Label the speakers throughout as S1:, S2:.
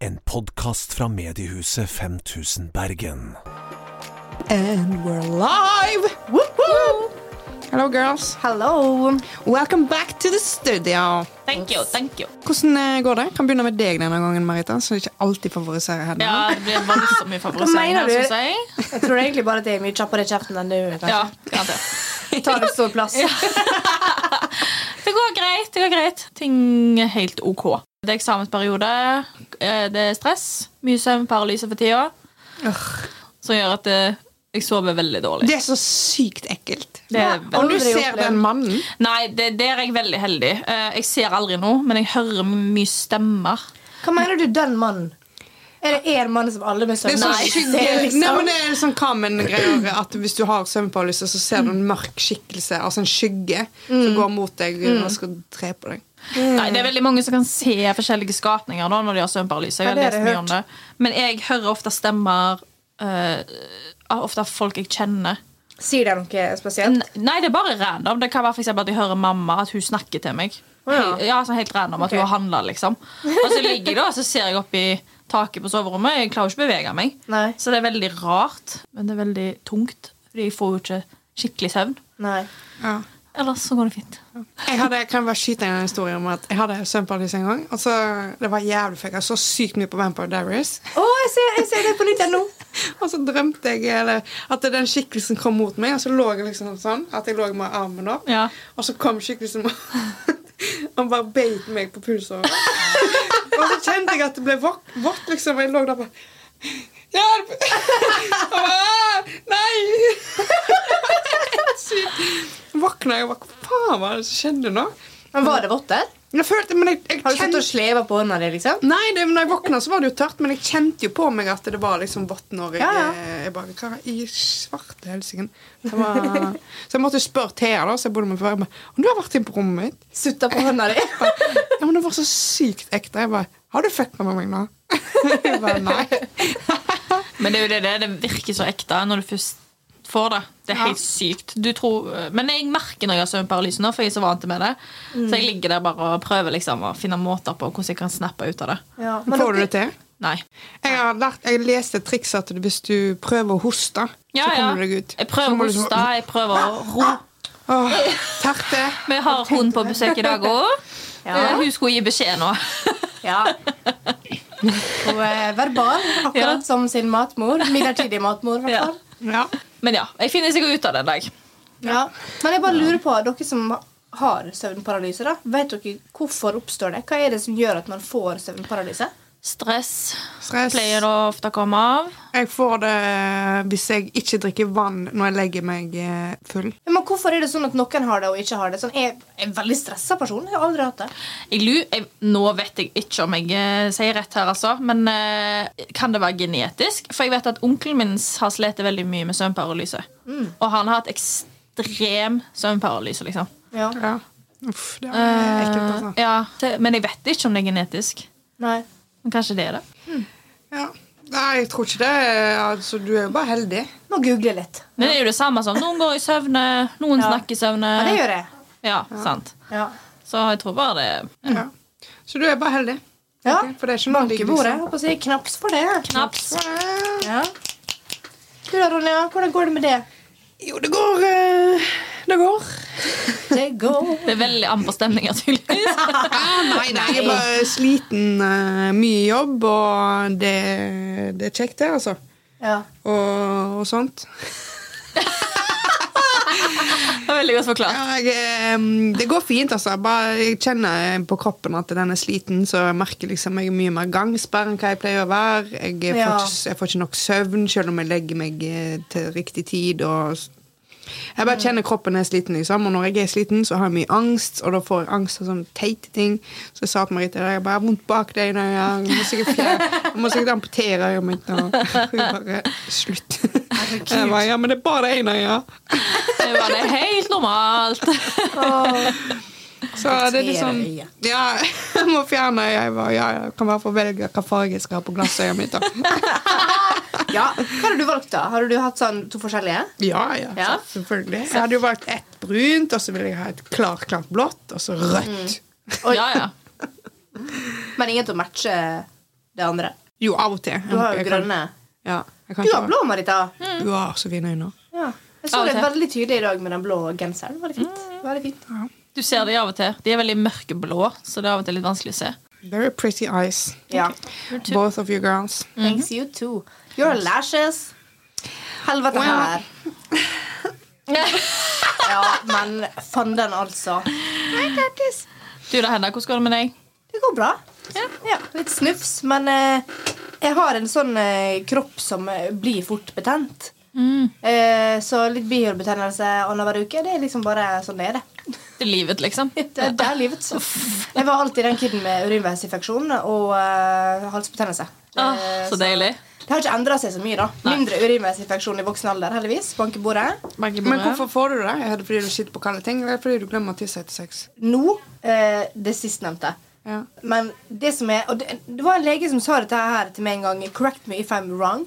S1: En podkast fra mediehuset 5000 Bergen.
S2: And we're live! Whoop, whoop. Hello, girls.
S3: Hello.
S2: Welcome back to the studio.
S3: Thank you, thank you.
S2: Hvordan eh, går det? Kan begynne med deg denne gangen, Marita. Så jeg ikke alltid favoriserer henne.
S4: Ja, det blir voldsomt mye favorisering
S3: Hva
S4: her,
S3: mener du?
S4: syns jeg.
S3: Jeg tror egentlig bare at jeg er mye kjappere i kjeften enn du.
S4: Ja,
S3: kanskje.
S4: garantert.
S3: Tar litt stor plass.
S4: Det går greit. det går greit Ting er helt OK. Det er eksamensperiode, eh, det er stress, mye søvnparalyse for tida, som gjør at eh, jeg sover veldig dårlig.
S2: Det er så sykt ekkelt.
S4: Det er
S3: Ja,
S2: Om
S4: veldig.
S2: du
S3: aldri
S2: ser
S3: opplevd.
S2: den mannen
S4: Nei, det, der er jeg veldig heldig. Eh, Jeg ser aldri noe, men jeg hører mye stemmer.
S3: Hva mener du, den mannen? Er det én mann som alle med
S2: Det
S3: søvn
S2: er så skygge.
S3: ser,
S2: Nei, men
S3: liksom?
S2: det er sånn Carmen-greier at hvis du har søvnparalyse, så ser du en mørk skikkelse, altså en skygge, som går mot deg og skal drepe deg.
S3: Mm.
S4: Nei, Det er veldig mange som kan se forskjellige skapninger da, når de har søvnparalyse. Jeg
S3: Ja,
S4: har
S3: det har
S4: lest
S3: jeg
S4: mye om det. Men jeg hører ofte stemmer eh, av ofte av folk jeg kjenner.
S3: Sier de noe spesielt?
S4: N- Nei, det er bare random. Det kan være for eksempel at jeg hører mamma at hun snakker til meg.
S3: Ja.
S4: Hei- Ja, sånn Helt random at
S3: Ok.
S4: hun har handla, liksom. Og så ligger jeg da, og så ser jeg opp i taket på soverommet. Jeg klarer jo ikke å bevege meg.
S3: Nei.
S4: Så det er veldig rart, men det er veldig tungt. Fordi jeg får jo ikke skikkelig søvn.
S3: Nei.
S2: Ja.
S4: Ellers så går det fint.
S2: Jeg hadde, kan jeg bare skyte inn en historie om at jeg hadde søvnparalyse en gang. Og så, det var jævlig fælt. Jeg så sykt mye på Vampire Diaries.
S3: Å, jeg, ser, jeg ser det på nytt ennå.
S2: Og så drømte jeg eller, at den skikkelsen kom mot meg, og så lå jeg liksom sånn. At jeg lå med armen opp,
S4: Ja.
S2: og så kom skikkelsen og bare beit meg på pulsåret. og så kjente jeg at det ble vått, vått liksom. Og jeg lå der bare Hjelp! Og bare, «Ah, Nei! Sykt. Våkna jeg og bare Hva faen var det som skjedde nå?
S3: Men var det vått der?
S2: Jeg følte, men jeg, jeg
S3: Har du
S2: kjente-
S3: stått og sleva på hånda di, liksom?
S2: Nei, det, når jeg våkna, så var det jo tørt, men jeg kjente jo på meg at det var liksom vått når jeg,
S3: Ja, ja.
S2: jeg bare, Hva i svarte helsike? Det var- Så jeg måtte spørre Thea, da, så jeg bodde med før, jeg bare, om du har vært inne på rommet mitt.
S3: Sutta på hånda di?
S2: Bare, Ja, men det var så sykt ekte. Jeg bare Har du fucka med meg nå? Jeg bare, Nei.
S4: Men det er jo det, det, det virker så ekte når du først får det. Det er helt sykt. Du tror, men jeg merker når jeg har søvnparalyse nå, for jeg er så vant med det. Så
S3: Mm.
S4: jeg ligger der bare og prøver liksom, å finne måter på hvordan jeg kan snappe ut av det.
S3: Ja, men
S2: Får du det
S3: dere-
S2: til?
S4: Nei.
S2: Jeg har lært, jeg leste et triks at hvis du prøver å hoste,
S4: Ja,
S2: så
S4: ja.
S2: kommer du deg ut.
S4: Jeg prøver
S2: Så
S4: å
S2: må du sånn,
S4: hoste, jeg prøver å ro.
S2: Åh, terte.
S4: Vi har hund på besøk i dag òg.
S3: Ja.
S4: Hun skulle gi beskjed nå.
S3: Ja. Og eh, verbal, akkurat
S4: Ja.
S3: som sin matmor. Midlertidig matmor, i hvert fall.
S2: Ja.
S4: Men ja, jeg finner sikkert ut av det en dag.
S3: Ja. Men jeg bare lurer på, dere som har søvnparalyse, da, vet dere hvorfor oppstår det? Hva er det som gjør at man får søvnparalyse?
S4: Stress
S2: Stress.
S4: pleier det ofte å komme av.
S2: Jeg får det eh, hvis jeg ikke drikker vann når jeg legger meg eh, full.
S3: Ja, Men Hvorfor er det sånn at noen har det og ikke har det? Sånn, jeg er en veldig stressa person. Jeg har aldri hatt det.
S4: Jeg lu, jeg, nå vet jeg ikke om jeg eh, sier rett her, altså, men eh, kan det være genetisk? For jeg vet at onkelen min har slitt veldig mye med søvnparalyse. Og han har hatt ekstrem søvnparalyse, liksom.
S3: Ja.
S2: Ja. Uff, det er ekkelt, altså.
S4: Eh, ja. Så- Men jeg vet ikke om det er genetisk.
S3: Nei.
S4: Men kanskje det er det.
S2: Ja. Nei, jeg tror ikke det. Altså, du er jo bare heldig.
S3: Må google litt.
S4: Men det er jo det samme som noen går i søvne, noen
S3: Ja.
S4: snakker i søvne.
S3: Ja, det gjør jeg.
S4: Ja, sant.
S3: Ja.
S4: Så jeg tror bare det
S2: Ja. Så du er bare heldig.
S3: Ja.
S2: Ok, For det er ikke liksom. noe
S3: Bank i
S2: ligg,
S3: bordet.
S2: liksom.
S3: Håper jeg knaps for det.
S4: knapt.
S2: Eh,
S3: Ja. Du da, Ronja? Hvordan går det med det?
S2: Jo, det går. eh, Det går.
S3: Det går.
S4: Det er veldig amper stemninger, tydeligvis.
S2: nei, nei. Jeg er bare sliten. eh, Mye jobb, og det, det er kjekt, det, altså.
S3: Ja.
S2: Og, og sånt.
S4: Det er veldig godt forklart.
S2: Ja, jeg, ehm, det går fint, altså. Bare, jeg kjenner på kroppen at den er sliten, så jeg merker liksom jeg er mye mer gangsperre enn hva jeg pleier å være. Jeg, eh, får,
S3: Ja.
S2: ikke, jeg får ikke nok søvn, selv om jeg legger meg eh, til riktig tid. Og s- jeg bare kjenner kroppen er sliten, liksom. Og når jeg er sliten, så har jeg mye angst, og da får jeg angst av sånne teite ting. Så jeg sa til Marita i dag, jeg bare har vondt bak deg, nå, ja. jeg, må sikkert, fjerne- jeg må sikkert amputere øyet mitt. nå.» Hun bare Slutt. Jeg bare, ja, men det er bare det ene, ja.
S4: Det var det helt normalt.
S3: Åh.
S2: Så det er litt sånn
S3: øyet.
S2: Ja, jeg må fjerne øyet. Jeg bare, ja, jeg kan i hvert fall velge hva farge jeg skal ha på glassøyet mitt. da.
S3: ja. Hva har du valgt, da? Har du hatt sånn to forskjellige?
S2: Ja, ja,
S3: Ja.
S2: selvfølgelig. Jeg hadde jo valgt ett brunt, og så ville jeg ha et klart, klart
S3: Mm.
S2: blått, og så rødt.
S3: Oi.
S4: Ja, ja.
S3: Men ingen til å matche det andre.
S2: Jo, Mm. av og til.
S3: Du har jo
S2: Jeg kan-
S3: grønne.
S2: Ja, jeg kan
S3: Du
S2: ikke
S3: har blå, Marita.
S2: ha- Du har så fine øyne.
S3: Ja. Jeg så
S4: Av og
S3: det
S4: til.
S3: veldig tydelig i dag med den blå genseren. Var det fint? Var det fint?
S4: Du ser de av og til. De er veldig mørkeblå, så det er av og til litt vanskelig å se.
S2: Very pretty eyes.
S3: Ja.
S2: Both of you girls.
S3: Thanks you too. Your lashes. Helvete her. ja, men fanden, altså.
S4: Du da, Hedda, hvordan går det med deg?
S3: Det går bra.
S4: Ja.
S3: Ja, litt snufs, men eh, jeg har en sånn eh, kropp som eh, blir fort betent. Eh, så litt bihulebetennelse annenhver uke, det er liksom bare sånn det er, det.
S4: Det er livet, liksom.
S3: Det er, det er livet. Så. Jeg var alltid den kiden med urinveisinfeksjon og eh, halsbetennelse. Eh,
S4: Åh, Ah, så deilig.
S3: Det har ikke endra seg så mye, da.
S4: Nei.
S3: Mindre urinveisinfeksjon i voksen alder, heldigvis. Bank i bordet.
S2: Men hvorfor får du det? Er det fordi du sitter på kalde ting, eller er det fordi du glemmer å tisse etter sex?
S3: Nå eh, det sistnevnte.
S2: Ja.
S3: Men det som er Og det, det var en lege som sa dette her til meg en gang. Correct me if I'm wrong.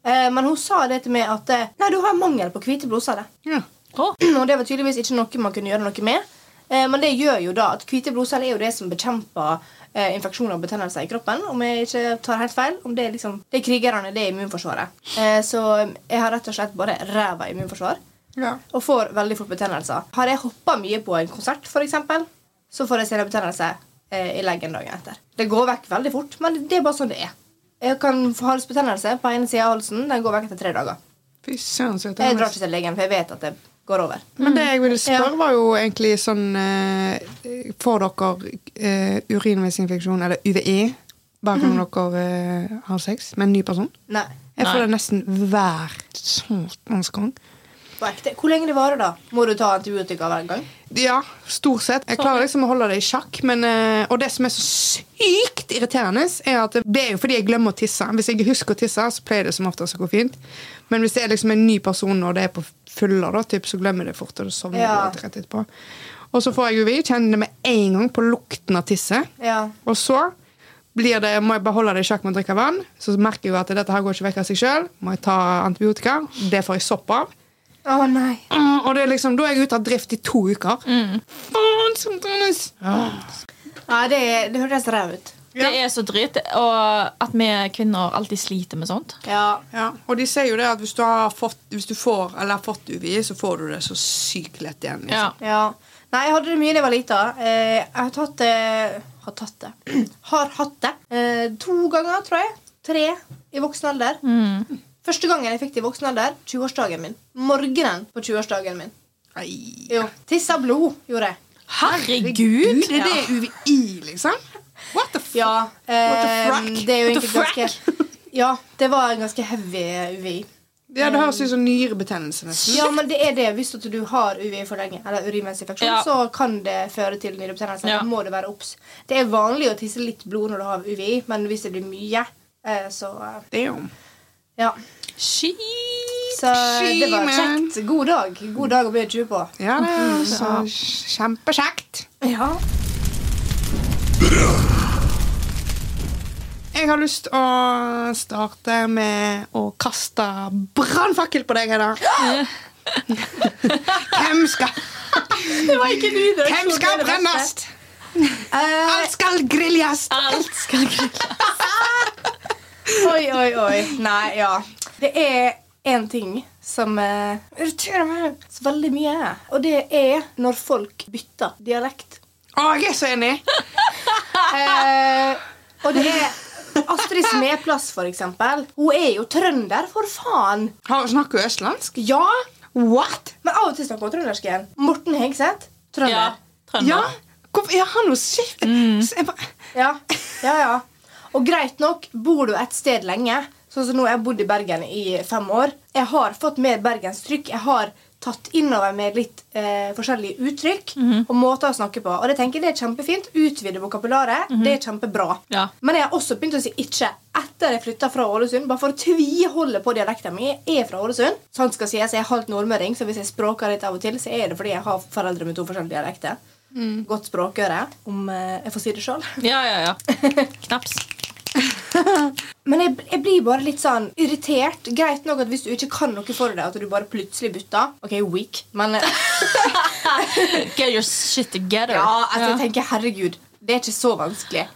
S3: Eh, men hun sa det til meg at eh, Nei, du har mangel på hvite blodceller.
S2: ja.
S4: Åh,
S3: Og det var tydeligvis ikke noe man kunne gjøre noe med. Eh, Men det gjør jo da at hvite blodceller er jo det som bekjemper eh, infeksjoner og betennelser i kroppen. Om jeg ikke tar helt feil. Om det, er liksom, det er krigerne, det er immunforsvaret. Eh, Så jeg har rett og slett bare ræva immunforsvar.
S2: ja.
S3: Og får veldig fort betennelser. Har jeg hoppa mye på en konsert, for eksempel, så får jeg senebetennelse eh, i leggen dagen etter. Det går vekk veldig fort, men det er bare sånn det er. Jeg kan få halsbetennelse på ene siden av halsen. Den går vekk etter tre dager.
S2: Fy søren, så
S3: Jeg drar
S2: irriterende.
S3: ikke til legen, for jeg vet at det går over.
S2: Men det jeg ville spørre,
S3: Ja.
S2: var jo egentlig sånn eh, Får dere eh, urinveisinfeksjon, eller UVE, hver gang dere eh, har sex med en ny person?
S3: Nei.
S2: Jeg får
S4: Nei.
S2: det nesten hver satans gang.
S3: På ekte. Hvor lenge det varer, da? Må du ta antibiotika hver gang?
S2: Ja, stort sett. Jeg klarer liksom å holde det i sjakk. Men, eh, og det som er så sykt irriterende, er at det er jo fordi jeg glemmer å tisse. Hvis jeg husker å tisse, så pleier det som oftest å gå fint. Men hvis det er liksom en ny person og det er på fylla, da, typ, så glemmer jeg det fort. Og da sovner
S3: Ja.
S2: jeg rett etterpå. Og så får jeg UV, kjenner det med en gang på lukten av tisse.
S3: Ja.
S2: Og så blir det, må jeg bare holde det i sjakk med å drikke vann. Så merker jeg jo at dette her går ikke vekk av seg sjøl. Må jeg ta antibiotika. Det får jeg sopp av.
S3: Å nei.
S2: Mm, Og det er liksom, Da er jeg ute av drift i to uker.
S3: Mm.
S2: Faen, som Dennis!
S3: Nei, det, det hørtes ræv ut.
S4: det er så dritt. Og at vi kvinner alltid sliter med sånt.
S3: Ja.
S2: Ja, og de sier jo det at hvis du, har fått, hvis du får eller har fått UVI, så får du det så sykt lett igjen. Liksom.
S4: Ja.
S3: ja. Nei, jeg hadde det mye da jeg var lita. Eh, jeg har tatt det Har tatt det. Har hatt det. Eh, to ganger, tror jeg. Tre i voksen alder. Første gangen jeg fikk det i voksen alder, 20-årsdagen min. Morgenen på 20-årsdagen min.
S2: Nei.
S3: Jo. Tissa blod, gjorde jeg.
S4: Herregud!
S2: Gud, er det UVI, liksom? What the f...
S3: Ja, eh,
S2: What the frack?
S3: det er jo
S4: What the
S3: egentlig ganske Ja, det var en ganske heavy UVI.
S2: Ja, det høres ut som nyrebetennelse. nesten.
S3: Ja, men det er det. Hvis at du har UVI for lenge, eller urinveisinfeksjon,
S4: Ja.
S3: så kan det føre til nyrebetennelse.
S4: Ja.
S3: Da må du være obs. Det er vanlig å tisse litt blod når du har UVI, men hvis det blir mye, eh, så eh,
S2: Damn.
S3: Ja.
S4: Shit.
S3: Så eh, det var
S2: Shame.
S3: kjekt. God dag. God dag å bli 20 på.
S2: Ja, det er
S3: Mm.
S2: altså kjempekjekt.
S3: Ja.
S2: Jeg har lyst å starte med å kaste brannfakkel på deg, Hedda. Hvem skal,
S3: Det var ikke du, det var
S2: hvem
S3: ikke
S2: skal
S3: det verste.
S2: brennes?
S3: Eh,
S2: Alt skal grilles!
S4: Alt skal grille.
S3: oi, oi, oi. Nei, ja. Det er én ting som eh, irriterer meg så veldig mye, og det er når folk bytter dialekt.
S2: Å, jeg er så enig!
S3: Eh, og det er Astrid Smeplass, for eksempel. Hun er jo trønder, for faen!
S2: Har, snakker hun østlandsk?
S3: Ja,
S2: What?
S3: men av og til snakker hun trøndersk igjen. Morten Hegseth,
S4: Ja,
S3: trønder.
S4: trønder.
S2: Ja, hvorfor er han noe sykt? Så jeg bare-
S3: Ja. ja, ja. Og greit nok, bor du et sted lenge, sånn som nå har jeg bodd i Bergen i fem år Jeg har fått med bergenstrykk. Jeg har tatt innover med litt eh, forskjellige uttrykk og måter å snakke på. Og det tenker jeg det er kjempefint. Utvide vokabularet. Det er kjempebra.
S4: Ja.
S3: Men jeg har også begynt å si ikke etter jeg flytta fra Ålesund. Bare for å tviholde på dialekten min. Jeg er fra Ålesund. Sant skal sies, jeg er halvt nordmøring, så hvis jeg språker litt av og til, så er det fordi jeg har foreldre med to forskjellige dialekter. Godt språkøre, om eh, jeg får si det sjøl.
S4: Ja, ja, ja. Knaps.
S3: Men jeg, jeg blir bare litt sånn irritert. Greit nok at hvis du ikke kan noe for deg, at du bare plutselig bytter. Ok, weak, men eh,
S4: Get your shit together.
S3: ja, altså, jeg tenker herregud, det er ikke så vanskelig.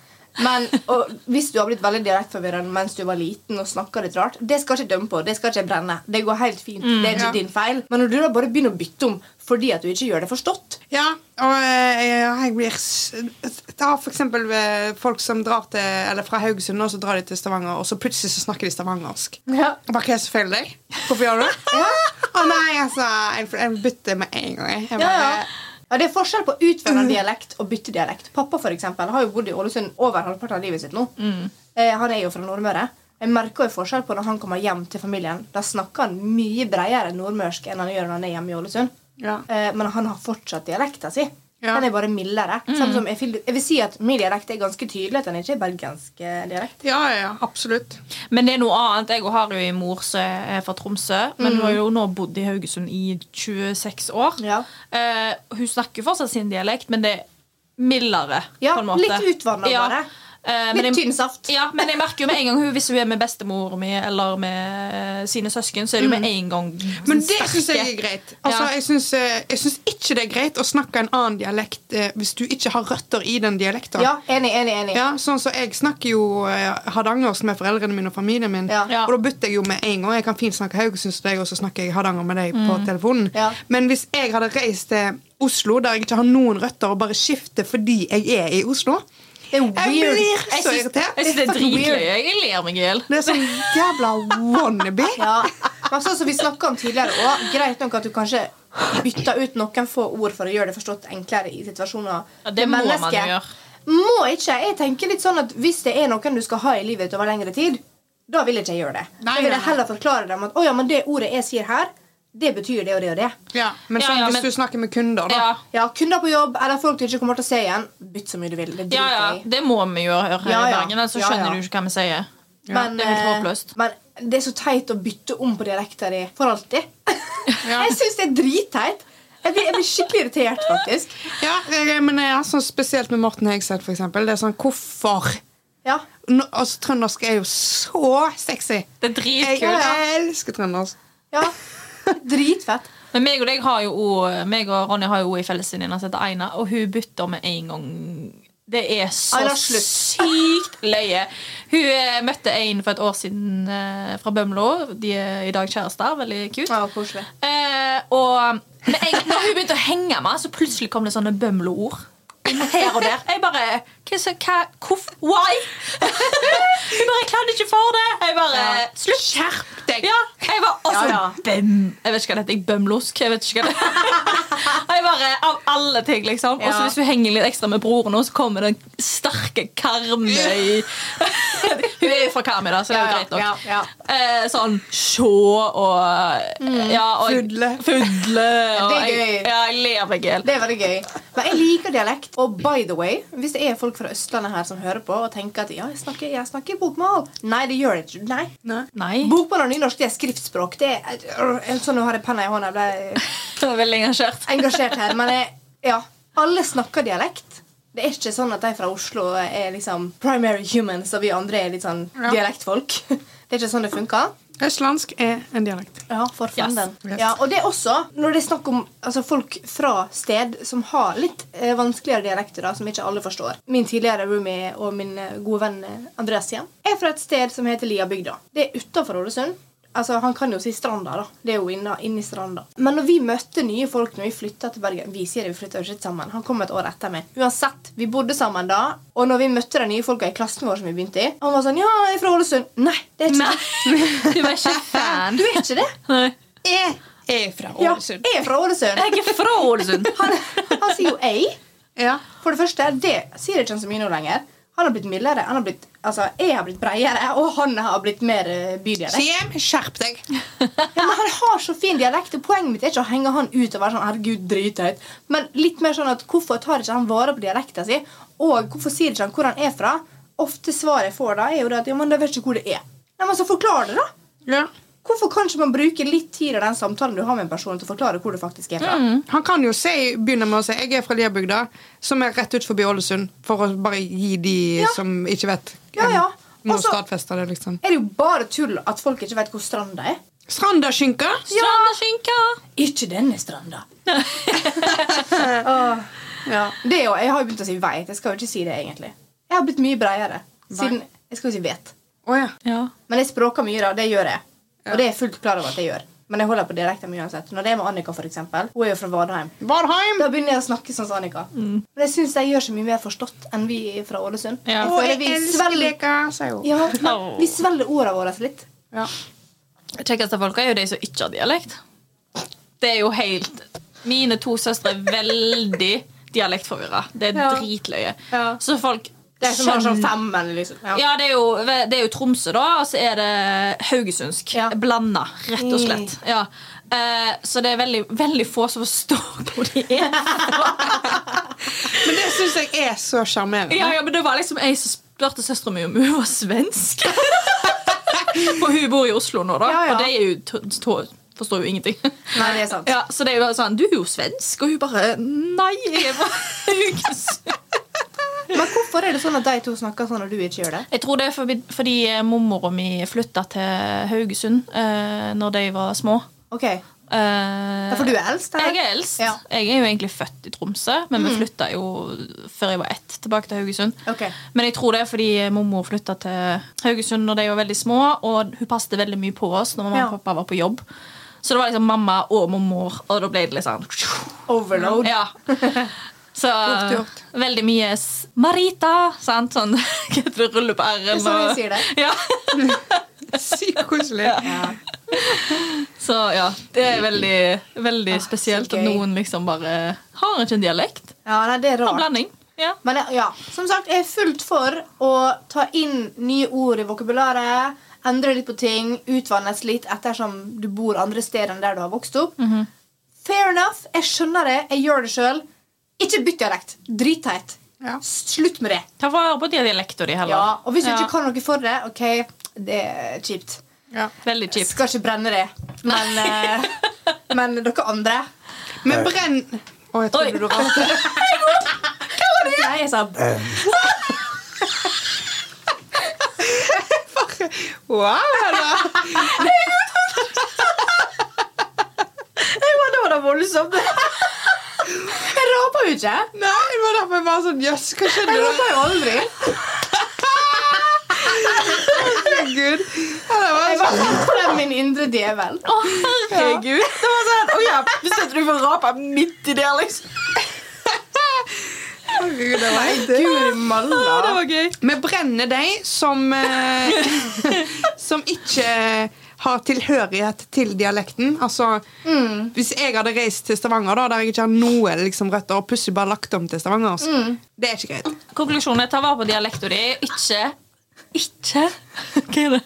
S3: Men og hvis du har blitt veldig direkteforvirrende mens du var liten, og snakket litt rart, det skal jeg ikke dømme på. Det skal ikke jeg brenne. Det går helt fint. det er ikke
S2: ja.
S3: din feil. Men når du da bare begynner å bytte om fordi at du ikke gjør det forstått
S2: Ja, og eh, jeg blir s- Ta for eksempel eh, folk som drar til Eller fra Haugesund, og så drar de til Stavanger, og så plutselig så snakker de stavangersk.
S3: ja.
S2: Jeg bare, Hva er det som feiler deg? Hvorfor gjør du det? Å nei, altså, jeg, jeg bytter med en gang. jeg. Jeg
S3: Ja,
S2: bare,
S3: ja. Eh, Ja, Det er forskjell på å utføre
S4: Mm.
S3: en dialekt og bytte dialekt. Pappa for eksempel, har jo bodd i Ålesund over halvparten av livet sitt nå.
S4: Mm.
S3: Eh, han er jo fra Nordmøre. Jeg merker jo forskjell på når han kommer hjem til familien. Da snakker han mye bredere nordmørsk enn han gjør når han er hjemme i Ålesund.
S2: Ja.
S3: Eh, men han har fortsatt dialekten sin.
S2: Ja.
S3: Den er bare mildere. Samme
S4: Mm.
S3: som jeg, fil- jeg vil si at Min dialekt er ganske tydelig at den ikke er bergensk eh, dialekt.
S2: ja, ja, ja, absolutt.
S4: Men det er noe annet. Jeg har jo en mor som er fra Tromsø,
S3: Mm.
S4: men hun har jo nå bodd i Haugesund i 26 år.
S3: Ja.
S4: Eh, hun snakker jo fortsatt sin dialekt, men det er mildere.
S3: Ja,
S4: på en måte.
S3: litt utvannet bare.
S4: Eh, men
S3: Litt
S4: jeg-
S3: tynn saft.
S4: Ja, men jeg merker jo med en gang hun, hvis hun er med bestemor mi eller med eh, sine søsken, så er det jo
S3: Mm.
S4: med en gang
S2: Men det
S4: sterke.
S2: syns jeg er greit. Altså,
S4: Ja.
S2: jeg syns, eh, jeg syns ikke det er greit å snakke en annen dialekt eh, hvis du ikke har røtter i den dialekten.
S3: Ja, enig, enig, enig.
S2: Ja, sånn så Jeg snakker jo eh, hardangersk med foreldrene mine og familien min.
S3: Ja.
S4: Ja.
S2: Og da bytter jeg jo med en gang. Jeg kan fint snakke haugesundsk til deg, og så snakker jeg hardanger med deg på telefonen.
S3: Ja.
S2: Men hvis jeg hadde reist til Oslo, der jeg ikke har noen røtter, og bare skifter fordi jeg er i Oslo
S3: Det er
S2: Jeg
S3: weird.
S2: blir
S3: Jeg
S2: så
S3: syns-
S2: irritert.
S4: Jeg synes det er
S3: fucking
S4: dritgøy.
S3: weird.
S4: Jeg ler meg i hjel.
S2: Det er sånn jævla wannabe.
S3: Ja, men sånn som vi snakket om tidligere også, Greit nok at du kanskje bytter ut noen få ord for å gjøre det forstått enklere i situasjoner.
S4: Ja, det må man jo
S3: mennesket
S4: gjøre.
S3: Må ikke. Jeg tenker litt sånn at Hvis det er noen du skal ha i livet over lengre tid, da vil jeg ikke gjøre det.
S2: Nei,
S3: da
S2: nei,
S3: vil jeg
S2: nei.
S3: heller forklare dem at å, ja, men det ordet jeg sier her, det betyr det og det og det.
S2: Ja, men
S4: Ja,
S2: sånn,
S4: ja,
S2: hvis
S4: men-
S2: du snakker med kunder, da.
S4: Ja.
S3: Ja, Kunder på jobb eller folk du ikke kommer til å se igjen, bytt så mye du vil. Det driter
S4: Ja, ja,
S3: jeg i.
S4: det må vi gjøre her
S3: Ja,
S4: i
S3: ja.
S4: Bergen, ellers så
S3: Ja,
S4: skjønner
S3: ja.
S4: du ikke hva vi sier.
S3: Men,
S4: Det er helt
S3: eh,
S4: håpløst.
S3: Men det er så teit å bytte om på dialekten din for alltid.
S2: Ja.
S3: jeg syns det er dritteit. Jeg blir, jeg blir skikkelig irritert, faktisk.
S2: Ja, jeg- men jeg er sånn spesielt med Morten Hegseth, for eksempel. Det er sånn, hvorfor?
S3: Ja.
S2: Nå, altså, trøndersk er jo så sexy.
S4: Det er
S2: Jeg
S4: dritkult.
S2: elsker trøndersk.
S3: ja. Dritfett.
S4: Men meg og deg har jo også- meg og Ronny har jo også en fellesvenninne som heter Aina, altså, og hun bytter med en gang. Det er så
S3: Aina, slutt.
S4: sykt løye. Hun eh, møtte en for et år siden eh, fra Bømlo. De er i dag kjærester. Veldig cute.
S3: Ja, koselig.
S4: Eh, og men jeg, når hun begynte å henge meg, så plutselig kom det sånne bømlo-ord. Her og der. Jeg bare hva, så- hva, hvorf, Why? Hun bare Jeg kladde ikke for det. Jeg bare
S3: Ja.
S4: Slutt. Skjerp deg. Ja, jeg var
S3: Ja,
S4: også
S3: ja.
S4: bøm... Jeg vet ikke hva det heter. jeg, Bømlosk. Jeg vet ikke hva det Og Jeg bare Av alle ting, liksom. Og så
S3: Ja.
S4: hvis du henger litt ekstra med broren, nå, så kommer den sterke Karmøy Hun er jo fra Karmøy, da, så det er jo
S3: Ja, ja,
S4: greit nok.
S3: ja, ja.
S4: Eh, sånn sjå og, ja, og
S2: Fudle.
S4: Fudle. Og
S3: Mm. Det er
S4: Jeg,
S3: gøy.
S4: ja, jeg ler meg i hjel.
S3: Det er veldig gøy. Men jeg liker dialekt. Og by the way, hvis det er folk fra Østlandet her som hører på og tenker at ja, jeg snakker, jeg snakker bokmål Nei, det gjør jeg ikke. Nei.
S4: Nei.
S3: Bokmål og nynorsk det er skriftspråk. Det er, sånn, nå har jeg penna i hånda. Jeg ble
S4: Det var veldig engasjert.
S3: engasjert her, men jeg, ja, alle snakker dialekt. Det er ikke sånn at de fra Oslo er liksom primary humans, og vi andre er litt sånn
S2: Ja.
S3: dialektfolk. Det er ikke sånn det funker.
S2: Østlandsk er en dialekt.
S3: Ja, for faen
S4: Yes.
S3: den.
S2: Yes.
S3: Ja, og det er også, når det er snakk om altså, folk fra sted som har litt eh, vanskeligere dialekter, da, som ikke alle forstår. Min tidligere roomie og min eh, gode venn eh, Andreas igjen er fra et sted som heter Liabygda. Det er utafor Ålesund. Altså, Han kan jo si Stranda, da. Det er jo inne, inne i Stranda. Men når vi møtte nye folk når vi flytta til Bergen Vi sier det, vi flytta jo ikke sammen. Han kom et år etter meg. Uansett, vi bodde sammen da. Og når vi møtte de nye folka i klassen vår som vi begynte i, han var sånn Ja, jeg er fra Ålesund. Nei, det er ikke
S4: Nei, du var ikke
S3: det.
S4: fan.
S3: Du er ikke det.
S4: Nei.
S2: Jeg er fra
S3: Ja, jeg er fra Ålesund.
S4: Jeg er fra Ålesund.
S3: Han, han sier jo ei.
S2: Ja.
S3: For det første, det sier ikke han så mye nå lenger. Han har blitt mildere. Han har blitt, altså, jeg har blitt bredere, og han har blitt mer eh, bydialekt.
S2: Siem, skjerp deg.
S3: Ja, men han har så fin dialekt. og Poenget mitt er ikke å henge han ut og være sånn herregud, drithøyt. Men litt mer sånn at hvorfor tar ikke han vare på dialekten sin? Og hvorfor sier ikke han hvor han er fra? Ofte svaret jeg får da, er jo det at ja, men jeg vet ikke hvor det er. Nei, men så forklar det, da.
S2: Ja.
S3: Hvorfor kan ikke man bruke litt tid av den samtalen du har med en person, til å forklare hvor du faktisk er fra?
S2: Han kan jo si, begynne med å si 'jeg er fra Liabygda', som er rett ut forbi Ålesund, for å bare gi de
S3: Ja.
S2: som ikke vet.
S3: Ja, ja.
S2: Må
S3: Og så-
S2: stadfeste det, liksom.
S3: Er det jo bare tull at folk ikke vet hvor stranda er?
S2: Strandaskinka.
S4: Strandaskinka.
S3: Ikke denne stranda. Åh, ja. Det er jo, jeg har jo begynt å si veit. Jeg skal jo ikke si det, egentlig. Jeg har blitt mye bredere. Siden Jeg skal jo si vet.
S2: Å ja.
S4: Ja.
S3: Men jeg språker mye, da. Det gjør jeg. Og det er jeg fullt klar over at jeg gjør. Men jeg holder på dialekten min uansett. Når det er med Annika, for eksempel, hun er jo fra Vadheim,
S2: Vadheim!
S3: da begynner jeg å snakke sånn som Annika. Men jeg syns de gjør så mye mer forstått enn vi fra Ålesund.
S4: Mm. Ja.
S2: Å,
S3: føler
S2: jeg
S3: vi
S2: elsker
S3: svelger-
S2: leker, sier hun.
S3: Ja,
S4: Åh.
S3: vi svelger ordene våre litt.
S2: Ja.
S4: Kjekkeste folka er jo de som ikke har dialekt. Det er jo helt Mine to søstre er veldig dialektforvirra. Det er
S3: Ja.
S4: dritløye.
S3: Ja.
S4: Så folk
S3: De som har sånn
S4: skjønner-
S3: fem, eller liksom. Ja.
S4: Ja, det er, jo, det er jo Tromsø, da, og så er det haugesundsk.
S3: Ja. Mm.
S4: Blanda, rett og slett. Ja. Eh, så det er veldig, veldig få som forstår hvor de er.
S2: Men det syns jeg er så sjarmerende.
S4: Ja, ja, men det var liksom ei som spurte søstera mi om hun var svensk. For hun bor i Oslo nå, da,
S3: Ja, ja.
S4: og de er jo t- t- forstår jo ingenting.
S3: Nei, det er sant.
S4: Ja, Så det er jo bare sånn Du er jo svensk. Og hun bare Nei, jeg er bare
S3: Men hvorfor er det sånn at de to snakker sånn, og du ikke gjør det?
S4: Jeg tror det er fordi, fordi eh, mormora mi flytta til Haugesund eh, når de var små.
S3: Ok, ja,
S4: Eh,
S3: For du er eldst? eller?
S4: Jeg er eldst. Mm.
S3: Ja.
S4: Jeg er jo egentlig født i Tromsø, men vi flytta jo før jeg var ett, tilbake til Haugesund.
S3: Ok.
S4: Men jeg tror det er fordi eh, mormor flytta til Haugesund når de var veldig små, og hun passet veldig mye på oss når mamma
S3: Ja.
S4: og pappa var på jobb. Så det var liksom mamma og mormor, og da ble det litt sånn
S3: Overload.
S4: Ja. Så
S2: gjort.
S4: veldig mye s- Marita, sant? Sånn du ruller på r-en.
S3: Det er sånn
S4: og-
S3: jeg sier det.
S4: Ja.
S2: Sykt koselig.
S4: Så ja, det er veldig, veldig
S3: Ah, så
S4: spesielt at
S3: gøy.
S4: noen liksom bare har ikke en dialekt.
S3: Ja, nei, det er
S4: Har
S3: rart.
S4: blanding. Ja.
S3: Men jeg- ja, som sagt, jeg er fullt for å ta inn nye ord i vokabularet. Endre litt på ting, utvannes litt ettersom du bor andre steder enn der du har vokst opp.
S4: Mhm.
S3: Fair enough. Jeg skjønner det. Jeg gjør det sjøl. Ikke bytt dialekt. Dritteit.
S2: Ja.
S3: Slutt med det.
S4: Ta vare på dialekta di heller.
S3: Ja, Og hvis du
S4: Ja.
S3: ikke kan noe for det, OK, det er kjipt.
S2: Ja.
S4: Veldig kjipt.
S3: Skal ikke brenne det. Men, eh, men dere andre
S2: Men brenn Å, jeg
S4: Oi.
S2: trodde du var
S3: Nei, jeg sa
S2: Wow, Hedda!
S3: Det var da voldsomt. Jeg raper jo ikke.
S2: Nei, det var derfor jeg var sånn Jøss, hva skjedde
S3: Jeg
S2: da?
S3: roper jo aldri.
S2: Herregud. Ja, det var
S3: Jeg
S2: sånn.
S3: bare satt frem min indre djevel.
S4: Å, herregud! Det var sånn, oh, ja, Hvis ikke du får rape midt i det, liksom.
S2: Herregud, det var helt
S3: Guri
S4: Å, det
S3: malla.
S4: var gøy.
S2: Vi brenner de som eh, Som ikke har tilhørighet til dialekten. Altså,
S4: Mm.
S2: Hvis jeg hadde reist til Stavanger, da, der jeg ikke har noe liksom, røtter, og plutselig bare lagt om til Stavanger så,
S4: Mm.
S2: Det er ikke greit.
S4: Konklusjonen er ta vare på dialekta di. Ikke Ikke Hva er det?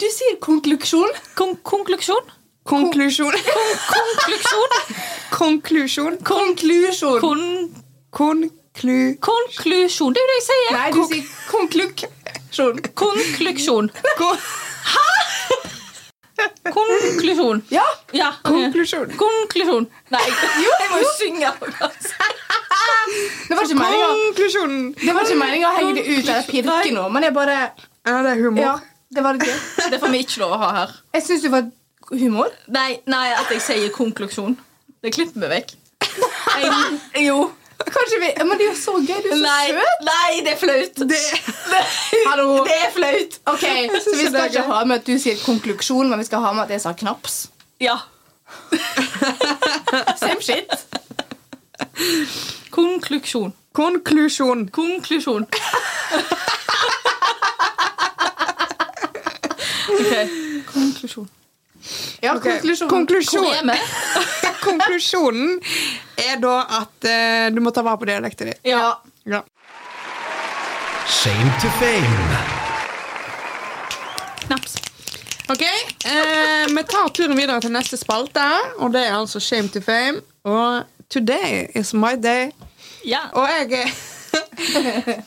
S3: Du sier konkluksjon.
S4: Kon konklusjon?
S2: Konklusjon.
S4: Konklusjon?
S2: Konklusjon.
S3: Konklusjon.
S4: Kon
S2: Konklu...
S4: konklusjon. Det er jo det jeg sier.
S3: Nei, du sier konkluksjon.
S4: Konklusjon.
S2: Kon
S4: Konklusjon.
S3: Ja.
S4: Ja. ok.
S2: konklusjon.
S4: Konklusjon. Nei, jo, jeg må jo synge.
S3: Det var ikke meningen.
S2: Konklusjonen.
S3: Det var ikke meningen å henge det ut eller pirke nå, men jeg bare
S2: Ja, det er humor.
S3: Ja, det var litt gøy.
S4: Det får vi ikke lov å ha her.
S3: Jeg syns det var humor.
S4: Nei, nei, at jeg sier konklusjon. Det klipper vi vekk. Jeg, jo.
S3: Kanskje vi Men det er jo så gøy. Du er så
S4: Nei,
S3: søt.
S4: nei, det er flaut.
S2: Det,
S3: Hallo.
S4: Det er flaut.
S3: Ok,
S2: synes
S3: Så vi
S2: det
S3: skal
S2: er
S3: ikke
S2: gøy.
S3: ha med at du sier konkluksjon, men vi skal ha med at jeg sa knaps.
S4: Ja.
S3: Same shit.
S4: Konklusjon.
S2: konklusjon.
S4: Konklusjon. Ok. Konklusjon.
S3: Ja,
S2: Ok,
S3: konklusjon.
S2: konklusjon.
S4: Hvor er vi?
S2: Konklusjonen er da at eh, du må ta vare på dialekten din.
S4: Ja.
S2: Ja.
S1: Shame to fame.
S4: Knaps.
S2: Ok, eh, vi tar turen videre til neste spalte, og det er altså Shame to Fame. Og today is my day.
S4: Ja.
S2: Og jeg er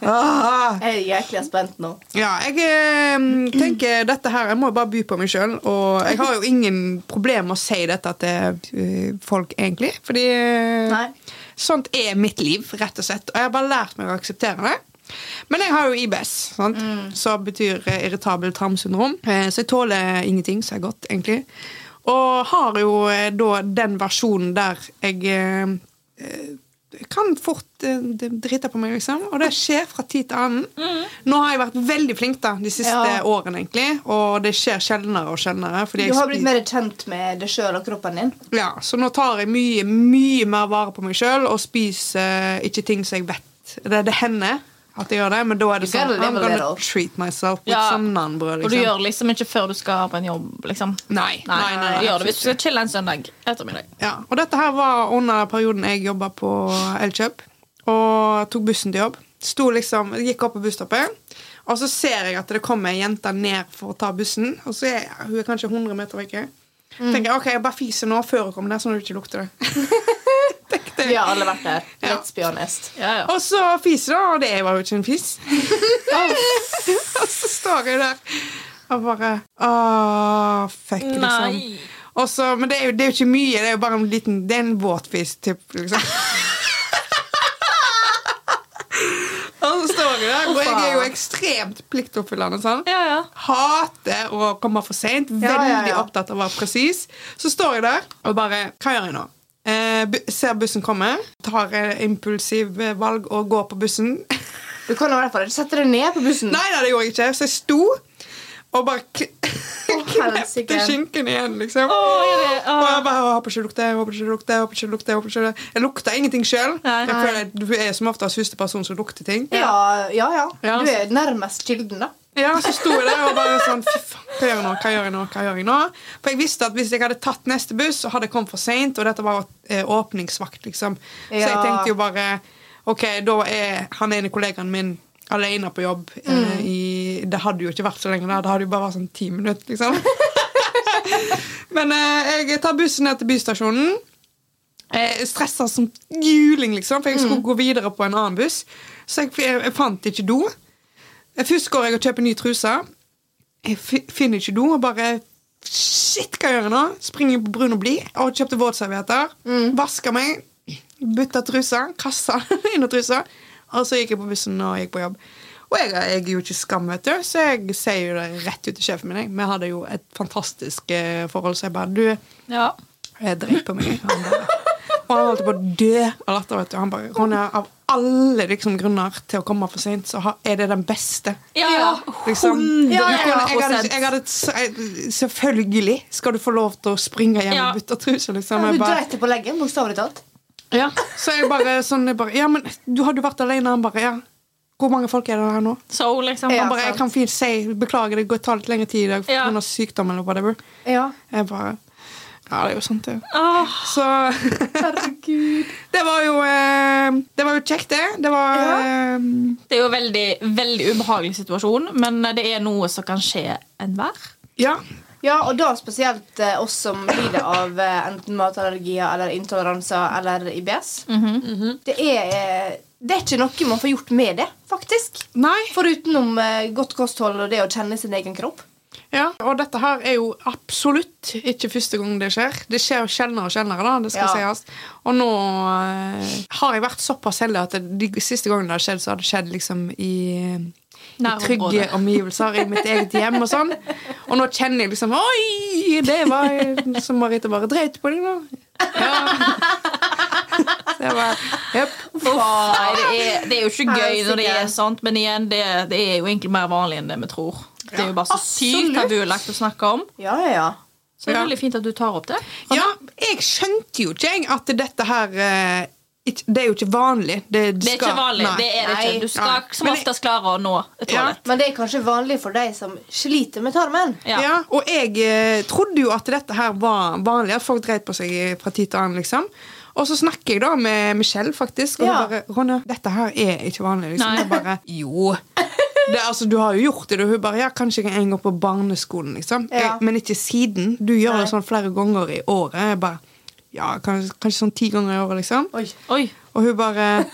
S2: ah,
S3: Jeg er jæklig spent nå.
S2: Ja, jeg eh, tenker dette her Jeg må bare by på meg sjøl, og jeg har jo ingen problem med å si dette til eh, folk, egentlig. Fordi eh,
S3: Nei.
S2: sånt er mitt liv, rett og slett. Og jeg har bare lært meg å akseptere det. Men jeg har jo IBS, sant?
S3: Mm.
S2: som betyr eh, irritabel tarmsyndrom. Eh, Så jeg tåler ingenting så jeg er godt, egentlig. Og har jo eh, da den versjonen der jeg eh, eh, kan fort eh, d- drite på meg, liksom. Og det skjer fra tid til annen. Nå har jeg vært veldig flink da, de siste
S3: Mm. Ja.
S2: årene, egentlig. Og det skjer sjeldnere og sjeldnere. Fordi
S3: Du har
S2: jeg,
S3: blitt mer kjent med deg sjøl og kroppen din.
S2: ja, så nå tar jeg mye, mye mer vare på meg sjøl og spiser eh, ikke ting som jeg vet Det, det hender at jeg gjør det, men da er det
S3: You
S2: sånn
S3: gotta live
S2: I'm
S3: a
S2: gonna
S3: little."
S2: treat myself with
S4: Ja.
S2: some nanbrød,
S4: Og du
S2: liksom.
S4: gjør det liksom ikke før du skal på en jobb, liksom.
S2: Nei, nei, nei, nei,
S4: du gjør det hvis du skal chille en søndag ettermiddag.
S2: Ja, og dette her var under perioden jeg jobba på Elkjøp og tok bussen til jobb. Sto liksom, jeg gikk opp på busstoppet, og så ser jeg at det kommer ei jente ned for å ta bussen. Og så er hun er kanskje 100 meter vekke.
S3: Mm.
S2: Tenker jeg, ok, jeg bare fiser nå før hun kommer ned, sånn at du ikke lukter det. Tenkte jeg.
S3: Vi har alle vært der.
S2: Ja.
S3: Let's be honest.
S4: Ja, ja.
S2: Og så fiser hun, og det var jo ikke en fis. og så står jeg der og bare Åh, fuck, liksom.
S4: Nei.
S2: Og så- men det er, jo, det er jo ikke mye, det er jo bare en liten Det er en våtfis, typ, liksom. og så står jeg der, og jeg er jo ekstremt pliktoppfyllende. Sånn.
S4: Ja, ja.
S2: Hater å komme for seint. Veldig
S3: ja, ja.
S2: opptatt av å være presis. Så står jeg der og bare Hva gjør jeg nå? Eh, bu ser bussen komme, tar eh, impulsiv eh, valg og går på bussen.
S3: Du kan i hvert fall sette deg ned på bussen.
S2: Nei, nei, det gjorde jeg ikke. Så jeg sto og bare kn- knepte
S3: helsike.
S2: skinken igjen, liksom. Og jeg bare håper ikke det lukter, håper ikke det lukter, håper ikke det lukter. håper ikke det lukter. Jeg lukta ingenting sjøl.
S4: Nei.
S2: Du er som oftest første person som lukter ting.
S3: Ja, ja, ja.
S2: Ja.
S3: Du er nærmest kilden, da.
S2: Ja, så sto jeg der og bare sånn Fy faen, hva gjør jeg nå? Hva gjør jeg nå? Hva gjør jeg nå? For jeg visste at hvis jeg hadde tatt neste buss, så hadde jeg kommet for seint, og dette var eh, åpningsvakt, liksom. Så jeg
S3: Ja.
S2: tenkte jo bare OK, da er han ene kollegaen min alene på jobb eh, i Det hadde jo ikke vært så lenge der, det hadde jo bare vært sånn ti minutter, liksom. Men eh, jeg tar bussen ned til bystasjonen. Eh, Stressa som juling, liksom, for jeg skulle gå videre på en annen buss. Så jeg, jeg fant ikke do. Først går jeg og kjøper ny truse. Jeg fi- finner ikke do og bare Shit, hva gjør jeg nå? Springer på Brun og Blid og kjøpte våtservietter. Vasker meg, bytta truse, kassa inn i trusa. Og så gikk jeg på bussen og gikk på jobb. Og jeg, jeg er jo ikke skam, vet du, så jeg sier jo det rett ut til sjefen min. jeg. Vi hadde jo et fantastisk eh, forhold, så jeg bare Du,
S4: ja.
S2: jeg dreit på meg. Han bare, og han holdt på å dø av latter. vet du. Han bare Ronja, av alle liksom, grunner til å komme for seint, så har- er det den beste.
S4: Ja, ja.
S2: Liksom.
S3: Ja, ja, ja.
S2: jeg hadde, jeg hadde, jeg, selvfølgelig skal du få lov til å springe hjem
S4: Ja.
S2: og bytte truse. Liksom.
S3: Du
S2: Jeg bare,
S3: dreit deg på leggen, bokstavelig talt.
S2: ja. Så jeg bare sånn jeg bare, Ja, men du hadde jo vært alene. Han bare Ja. Hvor mange folk er det her nå?
S4: Så liksom.
S3: Ja.
S2: Han bare, jeg kan fint si Beklager, det går- tar litt lengre tid i dag pga.
S4: Ja.
S2: av sykdom eller whatever.
S3: Ja.
S2: Jeg bare Ja, det er jo sant, det.
S4: Åh,
S2: Så
S3: Herregud.
S2: Det var jo, eh, det var jo kjekt, det. Det var
S3: Ja.
S2: eh,
S4: det er jo en veldig, veldig ubehagelig situasjon, men det er noe som kan skje enhver.
S2: Ja.
S3: Ja, og da spesielt eh, oss som lider av eh, enten matallergier eller intoleranser eller IBS. det, er, eh, det er ikke noe man får gjort med det, faktisk.
S2: Nei.
S3: Foruten om eh, godt kosthold og det å kjenne sin egen kropp.
S2: Ja. Og dette her er jo absolutt ikke første gang det skjer. Det skjer jo sjeldnere og sjeldnere. da, det skal
S3: Ja.
S2: sies. Og nå eh, har jeg vært såpass heldig at det, de siste gangene det har skjedd, så har det skjedd liksom i i
S4: Nærområdet.
S2: trygge omgivelser i mitt eget hjem og sånn. Og nå kjenner jeg liksom Oi! Det var som Marita bare dreit på deg nå. Ja. Så jeg bare Jepp.
S4: Nei, det er, det er jo ikke gøy
S3: Helsike.
S4: når det er sånt, men igjen, det, det er jo egentlig mer vanlig enn det vi tror. Det er jo bare så sykt
S3: absolutt.
S4: tabulagt å snakke om.
S3: Ja, ja, ja.
S4: Så det er
S2: Ja.
S4: veldig fint at du tar opp det.
S2: Ja, jeg skjønte jo ikke jeg at dette her eh, ikk- Det er jo ikke vanlig. Det,
S4: Det er ikke vanlig. det er det
S3: Nei.
S4: ikke. Du skal
S2: Nei.
S4: som
S2: Men det-
S4: oftest klare å nå et
S2: Ja.
S4: toalett.
S3: Men det er kanskje vanlig for de som sliter med tarmen.
S2: ja.
S4: Ja.
S2: Og jeg eh, trodde jo at dette her var vanlig, at folk dreit på seg fra tid til annen. liksom. Og så snakker jeg da med Michelle, faktisk, og hun
S3: Ja.
S2: bare 'Ronja, dette her er ikke vanlig.' liksom.
S4: Nei.
S2: Jeg bare 'Jo'. Det, er altså, Du har jo gjort det. du. Hun bare 'Ja, kanskje jeg en gang på barneskolen', liksom.
S3: Ja.
S2: Jeg, men ikke siden. Du gjør det
S3: Nei.
S2: sånn flere ganger i året. Jeg bare, ja, kanskje, kanskje sånn ti ganger i året, liksom.
S3: Oi.
S4: Oi.
S2: Og hun bare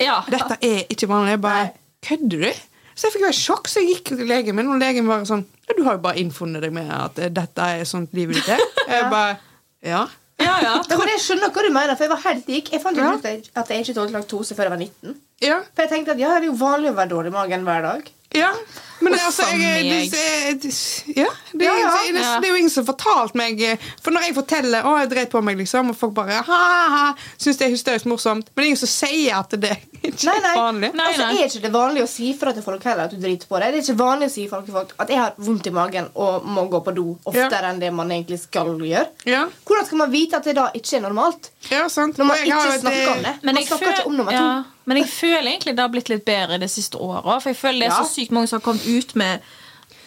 S4: Ja.
S2: dette er ikke vanlig. Jeg bare,
S3: Nei.
S2: kødder du? Så jeg fikk jo et sjokk, så jeg gikk til legen min, og legen var sånn, ja, du har jo bare innfunnet deg med at eh, dette er sånt livet ditt er. Jeg bare, ja.
S4: Ja, ja.
S3: Ja, men jeg skjønner hva du mener, for jeg var helt lik. Jeg fant jo
S2: Ja.
S3: ut at jeg- at jeg ikke tålte laktose før jeg var 19.
S2: Ja,
S3: For jeg tenkte at ja, det er jo vanlig å være dårlig i magen hver dag.
S2: ja. Men altså,
S4: Uff a
S2: jeg,
S4: meg.
S2: det, det, ja, det,
S3: Ja, ja.
S2: Det, det, det er jo ingen som har fortalt meg eh, For når jeg forteller å, jeg dreit på meg, liksom, og folk bare ha-ha, syns det er hysterisk morsomt Men det er ingen som sier at det ikke
S3: Nei,
S2: er
S3: nei.
S2: vanlig.
S4: Nei,
S3: altså,
S4: nei.
S3: Er ikke det vanlig å si fra til folk heller at du driter på deg? Det er ikke vanlig å si fra til folk at jeg har vondt i magen og må gå på do oftere enn det man egentlig skal gjøre.
S2: Ja,
S3: Hvordan skal man vite at det da ikke er normalt?
S2: ja sant.
S3: Når
S2: Og
S3: man
S2: jeg har jo
S3: ikke
S2: et, eh,
S3: snakker om det.
S4: Men
S3: Man
S4: jeg,
S3: snakker ikke
S4: føl-
S3: om nummer to.
S4: ja, men jeg føler egentlig det har blitt litt bedre de siste åra. For jeg føler det er
S3: Ja.
S4: så sykt mange som har kommet ut med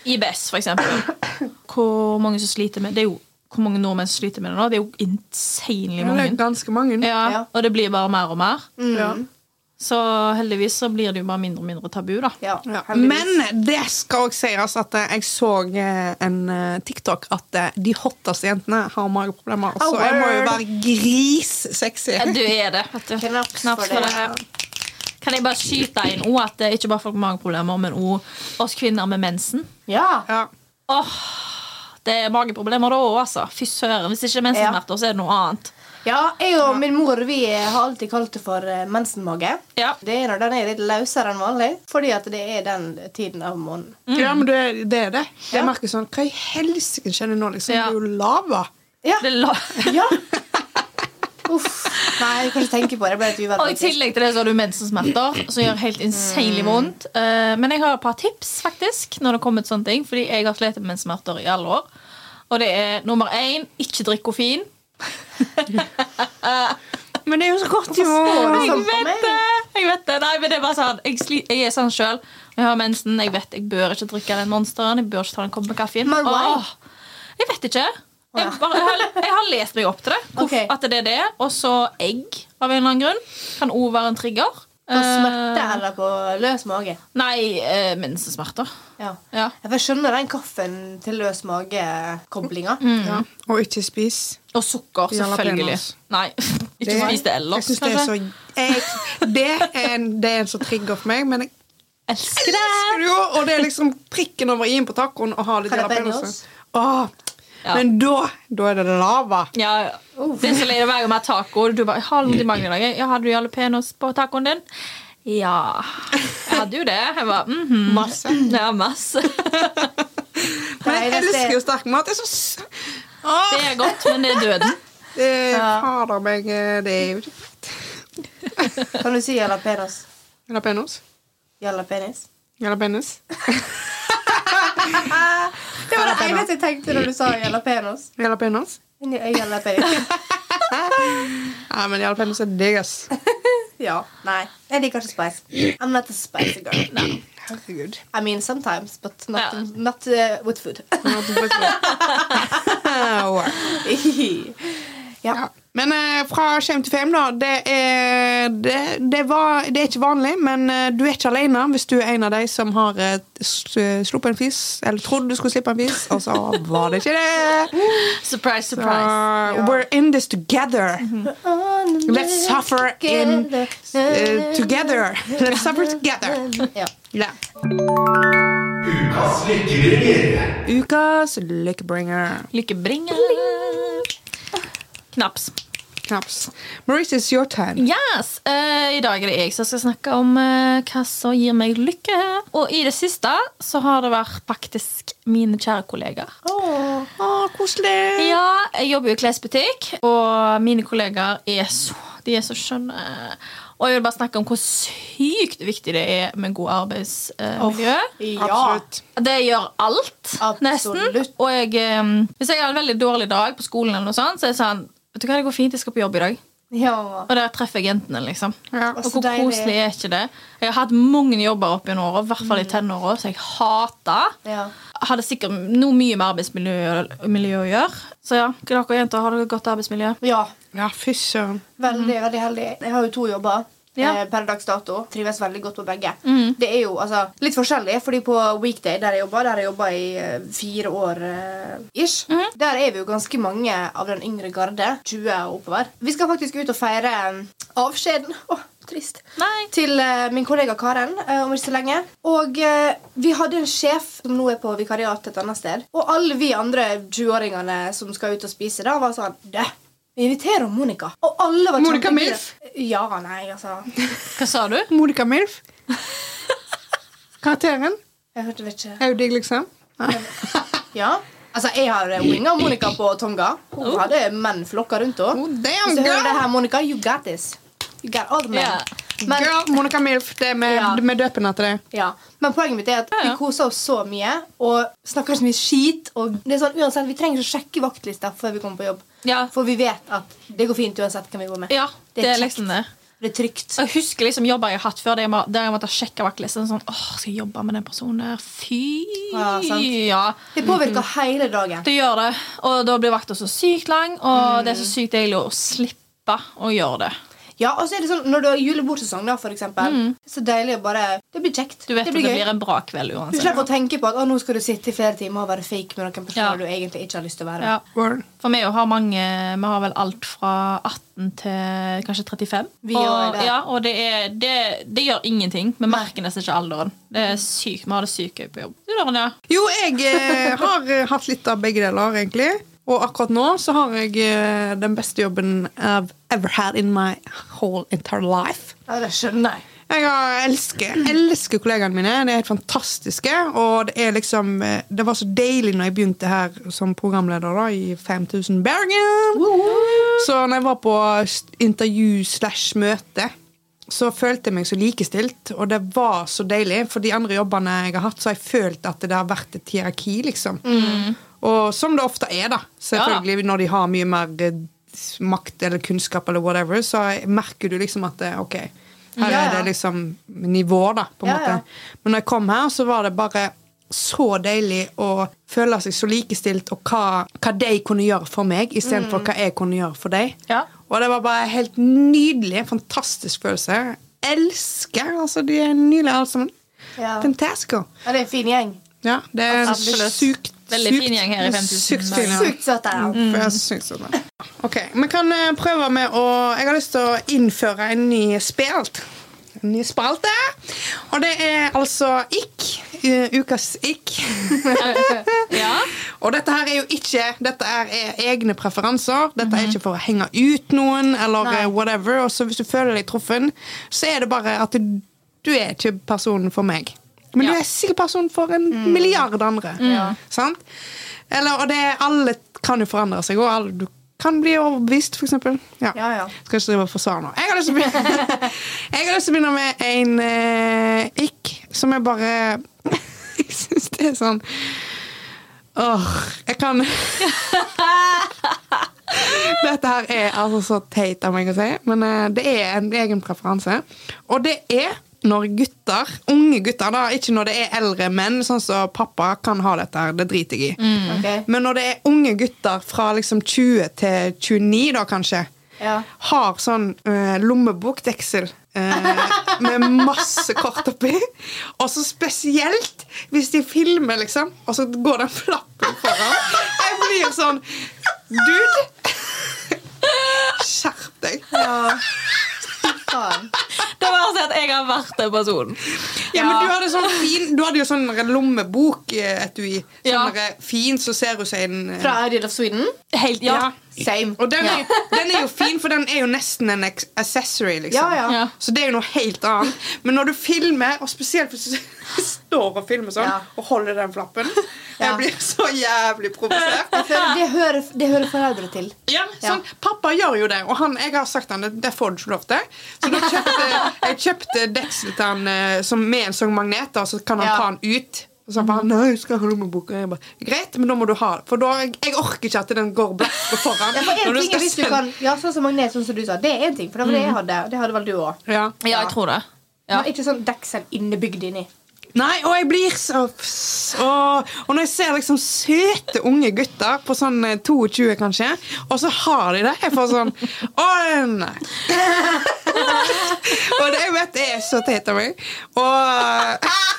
S4: IBS, for eksempel. Hvor mange som sliter med det er jo, Hvor mange nordmenn som sliter med det nå? Det er jo insanely
S2: Ja, det er
S4: mange.
S2: ganske mange.
S4: Ja,
S3: Ja. Mm.
S4: og det blir bare mer og mer.
S2: Ja.
S4: Så heldigvis så blir det jo bare mindre og mindre tabu, da.
S3: Ja,
S2: Ja.
S3: heldigvis.
S2: Men det skal også sies at eh, jeg så eh, en eh, TikTok at eh, de hotteste jentene har mageproblemer.
S3: Oh,
S2: Så jeg må jo
S3: word.
S2: være grissexy.
S4: Ja, Du er det. vet du
S3: Knapt for
S4: Knapt for
S3: det.
S4: det her. Kan jeg bare skyte inn også at det er ikke bare folk med mageproblemer, men også oss kvinner med mensen.
S3: Ja.
S2: Ja.
S4: Det er mageproblemer da òg, altså. Fy søren. Hvis det ikke er mensensmerter, så er det noe annet.
S3: ja, jeg og min mor vi har alltid kalt det for eh, mensenmage.
S4: Ja.
S3: Det er når den er litt løsere enn vanlig, fordi at det er den tiden av måneden.
S4: Mm.
S2: Ja, men det, er- det er det. Jeg
S3: Ja.
S2: merker sånn Hva i helsike skjer det nå? Liksom?
S4: Ja.
S2: Det er jo lava.
S3: Ja.
S4: Det la
S3: ja. Uff. Nei, jeg kan ikke tenke på det. Jeg ble litt uvær.
S4: og I
S3: faktisk.
S4: tillegg til det så har du mensensmerter, som gjør helt insanely vondt. Eh, men jeg har et par tips faktisk når det kommer til sånne ting, fordi jeg har slitt med menssmerter i alle år. Og det er nummer én ikke drikk koffein.
S2: Men det er jo så godt, altså.
S3: står det
S2: jo!
S3: sånn?
S4: Jeg
S3: Sånn for
S4: vet
S3: meg.
S4: det! jeg vet det Nei, men det er bare sånn Jeg, sli, jeg er sånn sjøl. Jeg har mensen. Jeg vet jeg bør ikke drikke den monsteren. Jeg bør ikke ta en kopp med kaffe.
S3: Men why?
S4: Åh, jeg vet ikke. Jeg, bare, jeg, har, jeg har lest meg opp til det. Hvorfor,
S3: Ok.
S4: At det er det. Og så egg, av en eller annen grunn. Kan òg være en trigger.
S3: På smerte
S4: Eh,
S3: eller på løs mage.
S4: nei, eh, mensensmerter.
S3: Ja.
S4: Ja.
S3: Jeg skjønner den kaffen til løs mage-koblinga.
S4: Mm.
S2: Ja. Og ikke spis.
S4: Og sukker,
S2: Jalapenos.
S4: selvfølgelig. Nei, ikke spis det
S2: jeg
S4: ellers,
S2: synes det, er så,
S4: kanskje.
S2: jeg, det, er en, det er en som trigger for meg, men jeg
S4: Elsker det!
S2: elsker det jo! Og det er liksom prikken over i-en på tacoen å ha litt jalapeños.
S3: Jalapeños.
S2: Åh,
S4: Ja.
S2: Men da, da er det lava.
S4: Ja, ja. Det er så lei meg med taco. Du bare, jeg har litt mange i dag. Ja, hadde du jalapeños på tacoen din? Ja. Jeg hadde jo det. Jeg bare, mhm.
S2: Masse.
S4: Ja, masse.
S2: Men jeg
S3: Nei, det-
S2: elsker jo sterk mat. Det er så s- Åh,
S4: Det er godt, men det er døden.
S2: det er
S3: Ja.
S2: Fader meg, eh, det er jo ikke
S3: Kan du si jalapenos?
S2: Jalapeños?
S3: Jalapenis?
S2: Jalapeños?
S3: Det var det eneste jeg tenkte når du sa jalapenos.
S2: Jalapeños?
S3: Men jeg- Jalapenis.
S2: Ja, men jalapeños er digg, ass.
S3: Ja. Nei, jeg liker ikke spice. I'm not a spicy girl.
S2: Herregud.
S3: I mean sometimes, but not,
S4: Ja.
S3: not uh, with food.
S2: Au.
S3: ja.
S2: Ja. Men eh, fra shame til fame, da. Det er, det, det, var, det er ikke vanlig, men eh, du er ikke alene hvis du er en av de som har eh, s- eh, sluppet en fis, eller trodde du skulle slippe en fis, og så var det ikke det.
S4: Surprise,
S2: Så,
S4: surprise.
S2: We're in this together. Let's suffer in eh, together. Let's suffer together.
S3: uh, Ja.
S2: Ja.
S5: Ukas lykkebringer.
S2: Ukas lykkebringer.
S4: Lykkebringer. Knaps.
S2: Knaps. Maurice, it's your time.
S4: Yes! Eh, I dag er det jeg som skal snakke om eh, hva som gir meg lykke. Og i det siste så har det vært faktisk mine kjære kollegaer.
S3: Åh.
S2: Å, koselig.
S4: Ja, jeg jobber jo i klesbutikk, og mine kollegaer er så, de er så skjønne. Og jeg vil bare snakke om hvor sykt viktig det er med god arbeidsmiljø.
S3: Ja.
S2: Absolutt.
S4: Det gjør alt, nesten.
S3: Absolutt.
S4: Og jeg, eh, hvis jeg har en veldig dårlig dag på skolen, eller noe sånt, så er det sånn Vet du hva, det går fint, jeg skal på jobb i dag.
S3: Ja.
S4: Og der treffer jeg jentene, liksom.
S2: Ja.
S4: Og
S3: Og så
S4: hvor
S3: Altså, deilig.
S4: koselig er ikke det? Jeg har hatt mange jobber opp gjennom åra, i hvert
S3: Mm.
S4: fall i tenåra, så jeg hater.
S3: Ja.
S4: Hadde sikkert noe mye med arbeidsmiljø miljø å gjøre. Så ja, dere jenter, har dere godt arbeidsmiljø?
S3: ja.
S2: Ja, fy søren.
S3: Veldig, veldig heldig. Jeg har jo to jobber.
S4: Ja.
S3: eh, Per dags dato. Trives veldig godt på begge. Det er jo altså, litt forskjellig, fordi på weekday, der jeg jobber, der jeg jobba i eh, fire år eh, ish, der er vi jo ganske mange av den yngre garde. 20 og oppover. Vi skal faktisk ut og feire eh, avskjeden. Åh, trist.
S4: Nei.
S3: Til eh, min kollega Karen eh, om ikke så lenge. Og eh, vi hadde en sjef som nå er på vikariat et annet sted. Og alle vi andre 20-åringene som skal ut og spise, da, var sånn Dø! Vi inviterer Monica. Og alle var
S2: Monica
S3: kjempegira.
S2: Milf?
S3: Ja, nei, altså.
S4: Hva sa du?
S2: Monica Milf. Karakteren.
S3: Jeg hørte vet ikke.
S2: Er jo digg, liksom.
S3: Ja. Altså, jeg har eh, winga Monica på Tonga.
S4: Oh.
S3: Hun hadde menn flokka rundt henne.
S2: Oh,
S3: Hvis
S2: damn,
S3: du hører det
S2: girl!
S3: her, Monica, you got this. You got all the men.
S4: Ja.
S3: Men,
S2: Girl, Monica Milf, det er med,
S3: Ja.
S2: med døpen etter det.
S3: ja. Men poenget mitt er at vi
S4: ja.
S3: koser oss så mye og snakker så mye skit. Og det er sånn, uansett, Vi trenger ikke å sjekke vaktlista før vi kommer på jobb.
S4: Ja.
S3: For vi vet at det går fint uansett hvem vi går med.
S4: ja,
S3: Det er
S4: det er
S3: kjekt.
S4: liksom det.
S3: Det er trygt.
S4: Jeg husker liksom jobber jeg har hatt før der jeg, må, der jeg måtte sjekke vaktlisten. Sånn, åh, skal jeg jobbe med den personen her? Fy!
S3: Ja, sant.
S4: Ja.
S3: Det påvirker hele dagen.
S4: Det gjør det. Og da blir vakta så sykt lang, og det er så
S3: Mm.
S4: sykt deilig å slippe å gjøre det.
S3: Ja, og så er det sånn, Når du har julebordsesong, da, for eksempel, så deilig å bare Det blir kjekt.
S4: Mm. Du vet
S3: det blir
S4: at det
S3: gøy.
S4: blir en bra kveld
S3: Du
S4: uansett.
S3: slipper å tenke på at å, nå skal du sitte i flere timer og være fake med noen personer
S4: Ja.
S3: du egentlig ikke har lyst til å være med.
S4: Ja.
S2: Word.
S4: For vi jo har mange Vi har vel alt fra 18 til kanskje 35.
S3: Vi også er
S4: og
S3: der.
S4: ja, og det, er, det, det gjør ingenting. Vi merker nesten ikke alderen. Det er sykt, Vi har det sykt gøy på jobb. Du da, Ronja?
S2: Jo, jeg eh, har eh, hatt litt av begge deler, egentlig. Og akkurat nå så har jeg eh, den beste jobben I've ever had in my whole entire life.
S3: Ja, det skjønner jeg.
S2: Jeg har- elsker, elsker kollegaene mine. De er helt fantastiske. Og det er liksom eh, Det var så deilig når jeg begynte her som programleder da, i 5000 Bergen. Så når jeg var på st- intervju slash møte, så følte jeg meg så likestilt. Og det var så deilig. For de andre jobbene jeg har hatt, så har jeg følt at det har vært et hierarki, liksom. Og som det ofte er, da. Selvfølgelig når de har mye mer eh, makt eller kunnskap eller whatever, så merker du liksom at det, OK, her
S3: Ja,
S2: er
S3: ja.
S2: det liksom nivå, da, på en
S3: Ja, ja.
S2: måte. Men når jeg kom her, så var det bare så deilig å føle seg så likestilt, og hva, hva de kunne gjøre for meg, istedenfor for hva jeg kunne gjøre for deg.
S4: Mm. Ja.
S2: Og det var bare helt nydelig. En fantastisk følelse. Elsker! Altså, de er nydelige, alle sammen.
S3: Ja.
S2: Fantastico.
S3: Ja, det er en fin gjeng.
S2: Ja, det er en
S4: Absolutt.
S2: sykt
S4: Veldig
S2: sykt-
S4: fin gjeng her i 5000.
S2: Sykt fin, ja.
S3: Sykt søt der.
S2: For jeg syns det er. Ok, Vi kan eh, prøve med å Jeg har lyst til å innføre en ny spelt. En ny spalte. Og det er altså ikk. eh, Ukas ikk.
S4: Ja.
S2: Og dette her er jo ikke Dette er er egne preferanser. Dette er ikke for å henge ut noen eller
S3: Nei.
S2: eh, whatever. Og så hvis du føler deg truffen, så er det bare at du, du er ikke personen for meg. Men
S4: Ja.
S2: du er sikkert personen for en milliard andre. Sant? Eller, og det er alle kan jo forandre seg, og alle, du kan bli overbevist, for eksempel. Ja.
S3: Ja, ja.
S2: Skal ikke drive og forsvare nå. Jeg har lyst til å begynne, jeg har lyst til å begynne med en eh, ikk som er bare Jeg syns det er sånn Åh, jeg kan Dette her er altså så teit av meg å si, men eh, det er en egen preferanse. Og det er når gutter, unge gutter, da, ikke når det er eldre menn, sånn som pappa kan ha dette her, det driter jeg i.
S4: Mm.
S3: Ok.
S2: Men når det er unge gutter fra liksom 20 til 29, da kanskje,
S3: Ja.
S2: har sånn eh, lommebokdeksel eh, med masse kort oppi. Og så spesielt hvis de filmer, liksom, og så går den flappen foran. Jeg blir sånn Dude! Skjerp deg.
S3: Ja. Faen.
S4: Det var altså at jeg har vært den personen.
S2: Ja, men du hadde, sånn fin, du hadde jo sånn lommebok-etui. Sånn
S4: Ja.
S2: der fin, så ser du seg en eh,
S3: Fra Ideal of Sweden.
S4: Helt, ja.
S3: Same.
S2: Og den er, den er jo fin, for den er jo nesten en ex- accessory, liksom.
S3: Ja, ja.
S4: Ja.
S2: Så det er jo noe helt annet. Men når du filmer, og spesielt hvis du står og filmer sånn,
S3: Ja.
S2: og holder den flappen
S3: Ja.
S2: Jeg blir så jævlig provosert.
S3: Det hører, det, hører, det hører foreldre til.
S2: Ja, sånn, Pappa gjør jo det, og han, jeg har sagt han, det, det får du ikke lov til. Så da kjøpte jeg kjøpte deksel til han eh, som, med en sånn magnet, og så kan han
S3: Ja.
S2: ta den ut. Og så bare, nei, jeg skal ha lommeboka. Jeg bare, Greit, men da må du ha det. For da, jeg orker ikke at den går blatt på foran.
S3: Ja, for en
S2: når du
S3: ting
S2: skal Mm.
S3: er hvis du
S2: sende-
S3: kan Ja, sånn som magnet, sånn som du sa. Det er en ting, for det var det jeg hadde. og Det hadde vel du òg.
S2: ja.
S4: ja, jeg tror det. Ja.
S3: Men ikke sånn deksel innebygd inni.
S2: Nei, og jeg blir så og, og når jeg ser liksom søte unge gutter på sånn eh, 22, kanskje, og så har de det Jeg får sånn Å, nei. og det jeg vet det er så teit av meg. Og eh,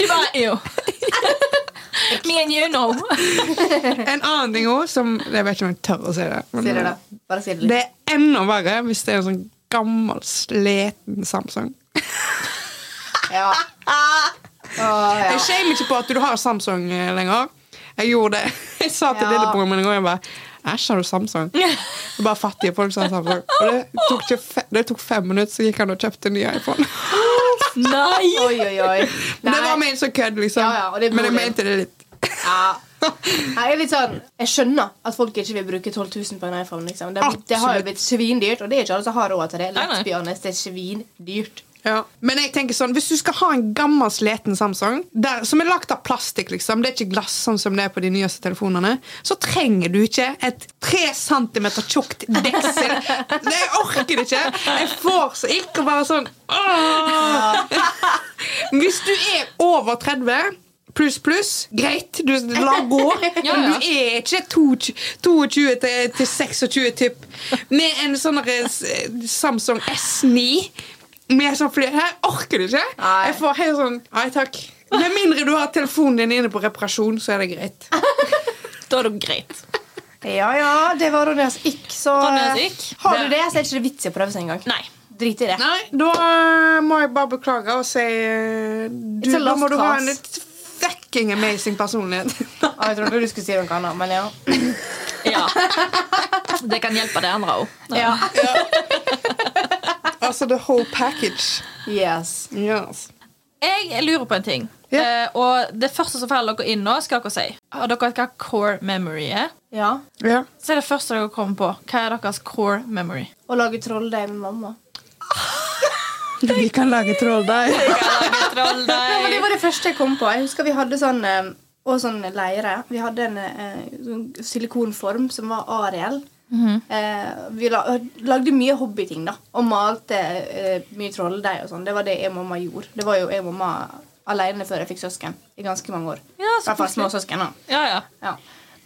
S4: Du bare Jo. Me and you know.
S2: en annen ting òg som Jeg vet ikke om jeg tør å si det. men-
S3: Sier det da. Bare si det litt.
S2: Det er enda verre hvis det er en sånn gammel, sliten Samsung.
S3: Ja. Å, ja.
S2: Jeg shamer ikke på at du har Samsung eh, lenger. Jeg gjorde det. Jeg sa til
S3: Ja.
S2: lillebroren min en gang jeg bare, Æsj, har du Samsung? Det er bare fattige folk som har Samsung. Og det tok, ikke fe det tok fem minutter, så gikk han og kjøpte en ny iPhone.
S4: Nei!
S3: Oi, oi, oi.
S2: Men det
S3: Nei.
S2: var ment som kødd, liksom.
S3: Ja, ja, og det
S2: Men jeg
S3: burde-
S2: mente det litt.
S3: Ja. Nei, Jeg er litt sånn Jeg skjønner at folk ikke vil bruke 12 000 på en iPhone. Liksom. Det, det har jo blitt svindyrt, og det er ikke alle som har råd til det.
S4: Nei, nei.
S3: Let's be honest, det er svindyrt.
S2: Ja. Men jeg tenker sånn, hvis du skal ha en gammel, sliten Samsung, der, som er lagt av plastikk, liksom, det er ikke glass sånn som det er på de nyeste telefonene, så trenger du ikke et tre centimeter tjukt deksel. Det jeg orker det ikke. Jeg får så ikke å være sånn «Åh!» Hvis du er over 30 Pluss, pluss. Greit, du la gå.
S4: Ja,
S2: Men
S4: ja.
S2: du er ikke 22 22 til, til 26 typ med en sånn der, eh, Samsung S9 med sånn fly. Jeg orker det ikke.
S3: Nei.
S2: Jeg får helt sånn Nei takk. Med mindre du har telefonen din inne på reparasjon, så er det greit.
S4: Da er det greit.
S3: Ja, ja, det var Ronjas ikk, så
S4: Ronjas ikk.
S3: Har du det, så er det ikke vits i å prøve seg engang.
S4: Nei.
S3: Drit i det.
S2: Nei, da eh, må jeg bare beklage og si eh, du,
S3: It's a
S2: Da
S3: lost
S2: må du ha
S3: cause.
S2: en litt fucking amazing personlighet.
S3: Ah, Jeg trodde du skulle si noe annet, men ja.
S4: Ja. Det kan hjelpe det andre òg.
S3: ja.
S2: altså the whole package.
S3: Yes.
S2: Yes.
S4: Jeg lurer på en ting.
S2: Ja.
S4: Eh, og det første som faller dere inn nå, skal dere si. Og dere vet hva core memory er.
S3: Ja.
S2: Ja.
S4: Så er det første dere kommer på. Hva er deres core memory?
S3: Å lage trolldeig med mamma.
S2: Vi kan lage trolldeig.
S3: Ja, men det var det første jeg kom på. Jeg husker vi hadde sånn eh, og sånn leire. Vi hadde en eh, sånn silikonform som var Ariel. eh, vi la lagde mye hobbyting, da. Og malte eh, mye trolldeig og sånn. Det var det jeg og mamma gjorde. Det var jo jeg og mamma alene før jeg fikk søsken. I ganske mange år.
S4: Ja,
S3: I
S4: så
S3: hvert fall små
S4: koselig.
S3: søsken, da.
S4: Ja, ja.
S3: Ja.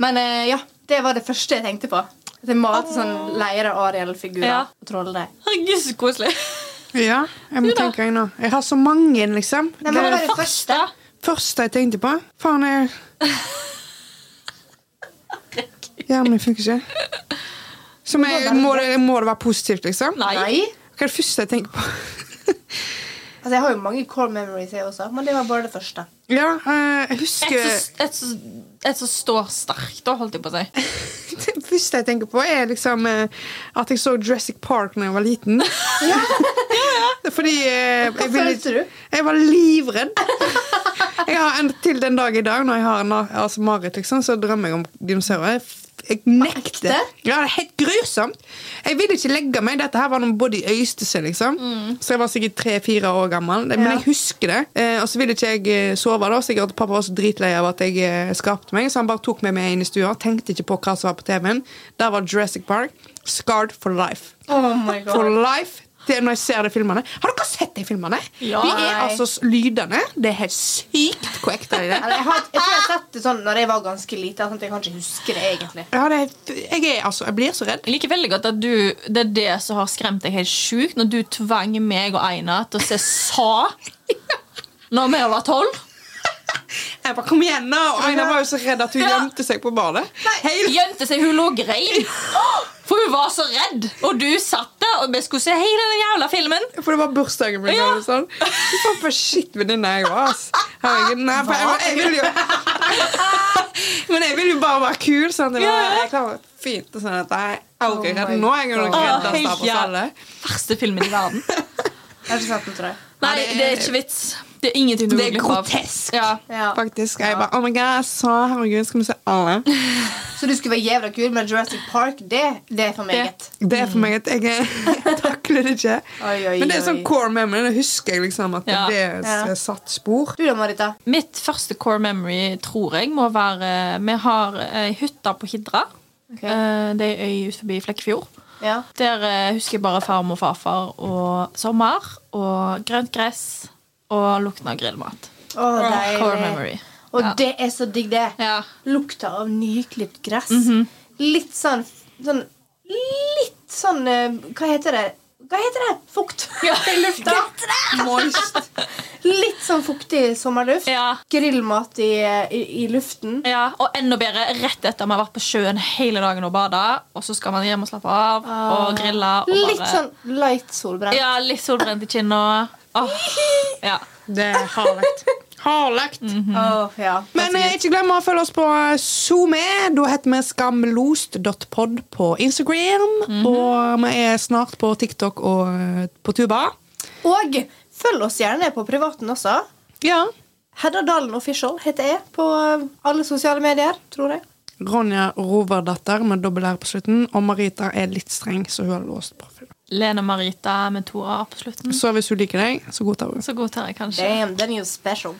S3: Men eh, ja, det var det første jeg tenkte på. At jeg malte sånn leire Ariel-figurer
S4: Ja.
S3: og trolldeig.
S4: Herregud, så koselig.
S2: Ja, jeg må
S4: Du da?
S2: tenke jeg nå. Jeg har så mange, liksom.
S3: Nei,
S2: det er
S3: men det var det første.
S2: det første jeg tenkte på. Faen, jeg Hjernen min funker ikke. Som jeg, må, det, må det være positivt, liksom?
S4: Nei.
S3: Nei.
S2: Hva er det første jeg tenker på?
S3: Altså, jeg har jo mange core memories, jeg også, men det var bare det første.
S2: ja, eh, jeg
S4: Et
S2: husker
S4: som- Et som et som står sterkt, da, holdt jeg på å si.
S2: Det første jeg tenker på, er liksom eh, at jeg så Jurassic Park da jeg var liten. Fordi eh, jeg,
S3: følte du?
S2: jeg var livredd. Jeg har en, til den dag i dag, når jeg har na- altså mareritt, liksom, så drømmer jeg om dinosaurer. Jeg f- Jeg nekter.
S3: Ekte?
S2: Ja, det er helt grusomt. Jeg ville ikke legge meg. Dette her var noen både i Øystese, liksom. Så jeg var sikkert tre-fire år gammel. Men
S3: Mm. Ja.
S2: jeg husker det. Eh, og så ville ikke jeg eh, sove da, sikkert pappa var så dritlei av at jeg eh, skapte meg, så han bare tok meg med inn i stua. Tenkte ikke på hva som var på TV-en. Der var Jurassic Park. Scarred for life.
S3: Oh my
S2: For life. Det er når jeg ser de filmene. Har dere sett de filmene?
S4: Ja.
S2: De er
S3: Nei.
S2: altså s- lydene. Det er helt sykt hvor ekte de er.
S3: Eller, jeg, har, jeg tror jeg har sett det sånn når jeg var ganske liten. Sånn at jeg kan ikke huske det egentlig.
S2: Ja, det er, jeg, er, altså, jeg blir så redd.
S4: Jeg liker veldig godt at du, det er det som har skremt deg helt sjukt, når du tvang meg og Einar til å se Sa når vi var tolv.
S2: Jeg bare, Kom igjen, nå! Og Aina var jo så redd at hun
S4: Ja.
S2: gjemte seg på badet. Hele
S4: Gjemte seg, hun lå og grein. For hun var så redd. Og du satt der, og vi skulle se hele den jævla filmen.
S2: For det var bursdagen min.
S4: Ja.
S2: Ja. Sånn. Fy faen, for shit venninne jeg var, ass. Herregud, nei, for jeg, jeg vil jo Men jeg vil jo bare være kul. Sånn. Jeg,
S4: Ja,
S2: var,
S4: ja.
S2: jeg klarer fint og sånn at jeg er aldri
S3: Oh
S2: redd.
S3: my
S2: Nå er jeg jo
S3: God.
S2: nok reddest
S4: Helt
S2: av oss
S4: jæv-
S2: alle.
S4: Verste filmen i verden.
S3: Jeg har ikke sett den, tror jeg.
S4: Nei,
S2: det er-
S4: det er ikke vits. Det er ingenting du
S2: Det er
S4: vil glippe av.
S2: grotesk.
S4: Ja.
S3: Ja.
S2: Faktisk. Jeg bare, oh my god, så herregud, skal vi se alle?
S3: Så du skulle være jævla kul, men Jurassic Park, det, det er for meget.
S2: Det er for meg at jeg, jeg takler det ikke.
S3: Oi, oi,
S2: Men det er sånn
S3: oi.
S2: core memory. Det husker jeg liksom at
S4: Ja.
S2: det
S3: Ja.
S2: s- satt spor.
S3: Du da, Marita?
S4: Mitt første core memory tror jeg må være Vi har ei hytte på Hidra.
S3: Ok.
S4: Eh, Det er ei øy ut forbi Flekkefjord.
S3: Ja.
S4: Der eh, husker jeg bare farmor og farfar og sommer og grønt gress og lukten av grillmat.
S3: Å,
S4: Core
S3: deilig.
S4: memory.
S3: Og
S4: Ja.
S3: det er så digg, det.
S4: Ja. Mhm.
S3: Lukta av nyklipt gress. Litt sånn, sånn Litt sånn eh, Hva heter det? Hva heter det? Fukt i lufta.
S2: Moist.
S3: Litt sånn fuktig sommerluft.
S4: Ja.
S3: Grillmat i, i, i luften.
S4: Ja, og enda bedre rett etter man har vært på sjøen hele dagen og bada, og så skal man hjem og slappe av og grille. Og bare,
S3: Ah. Litt sånn light solbrent.
S4: Ja, litt solbrent i kinna. Åh, ja.
S2: Det er Mm, herlig. Herlekt.
S4: Mhm.
S3: Åh, ja.
S2: Men eh, ikke glem å følge oss på SoMe. Da heter vi skamlost.pod på Instagram. Og vi er snart på TikTok og eh, på Tuba.
S3: Og følg oss gjerne på privaten også.
S2: Ja.
S3: Hedda Dalen Official heter jeg på eh, alle sosiale medier, tror jeg.
S2: Ronja Roverdatter med dobbel R på slutten. Og Marita er litt streng, så hun har låst profilen.
S4: Lene Marita med to a på slutten.
S2: Så hvis hun liker deg, så godtar hun.
S4: Så godtar jeg kanskje.
S3: Damn, den er jo special.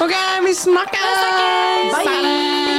S2: OK, vi snakkes!
S3: Bye!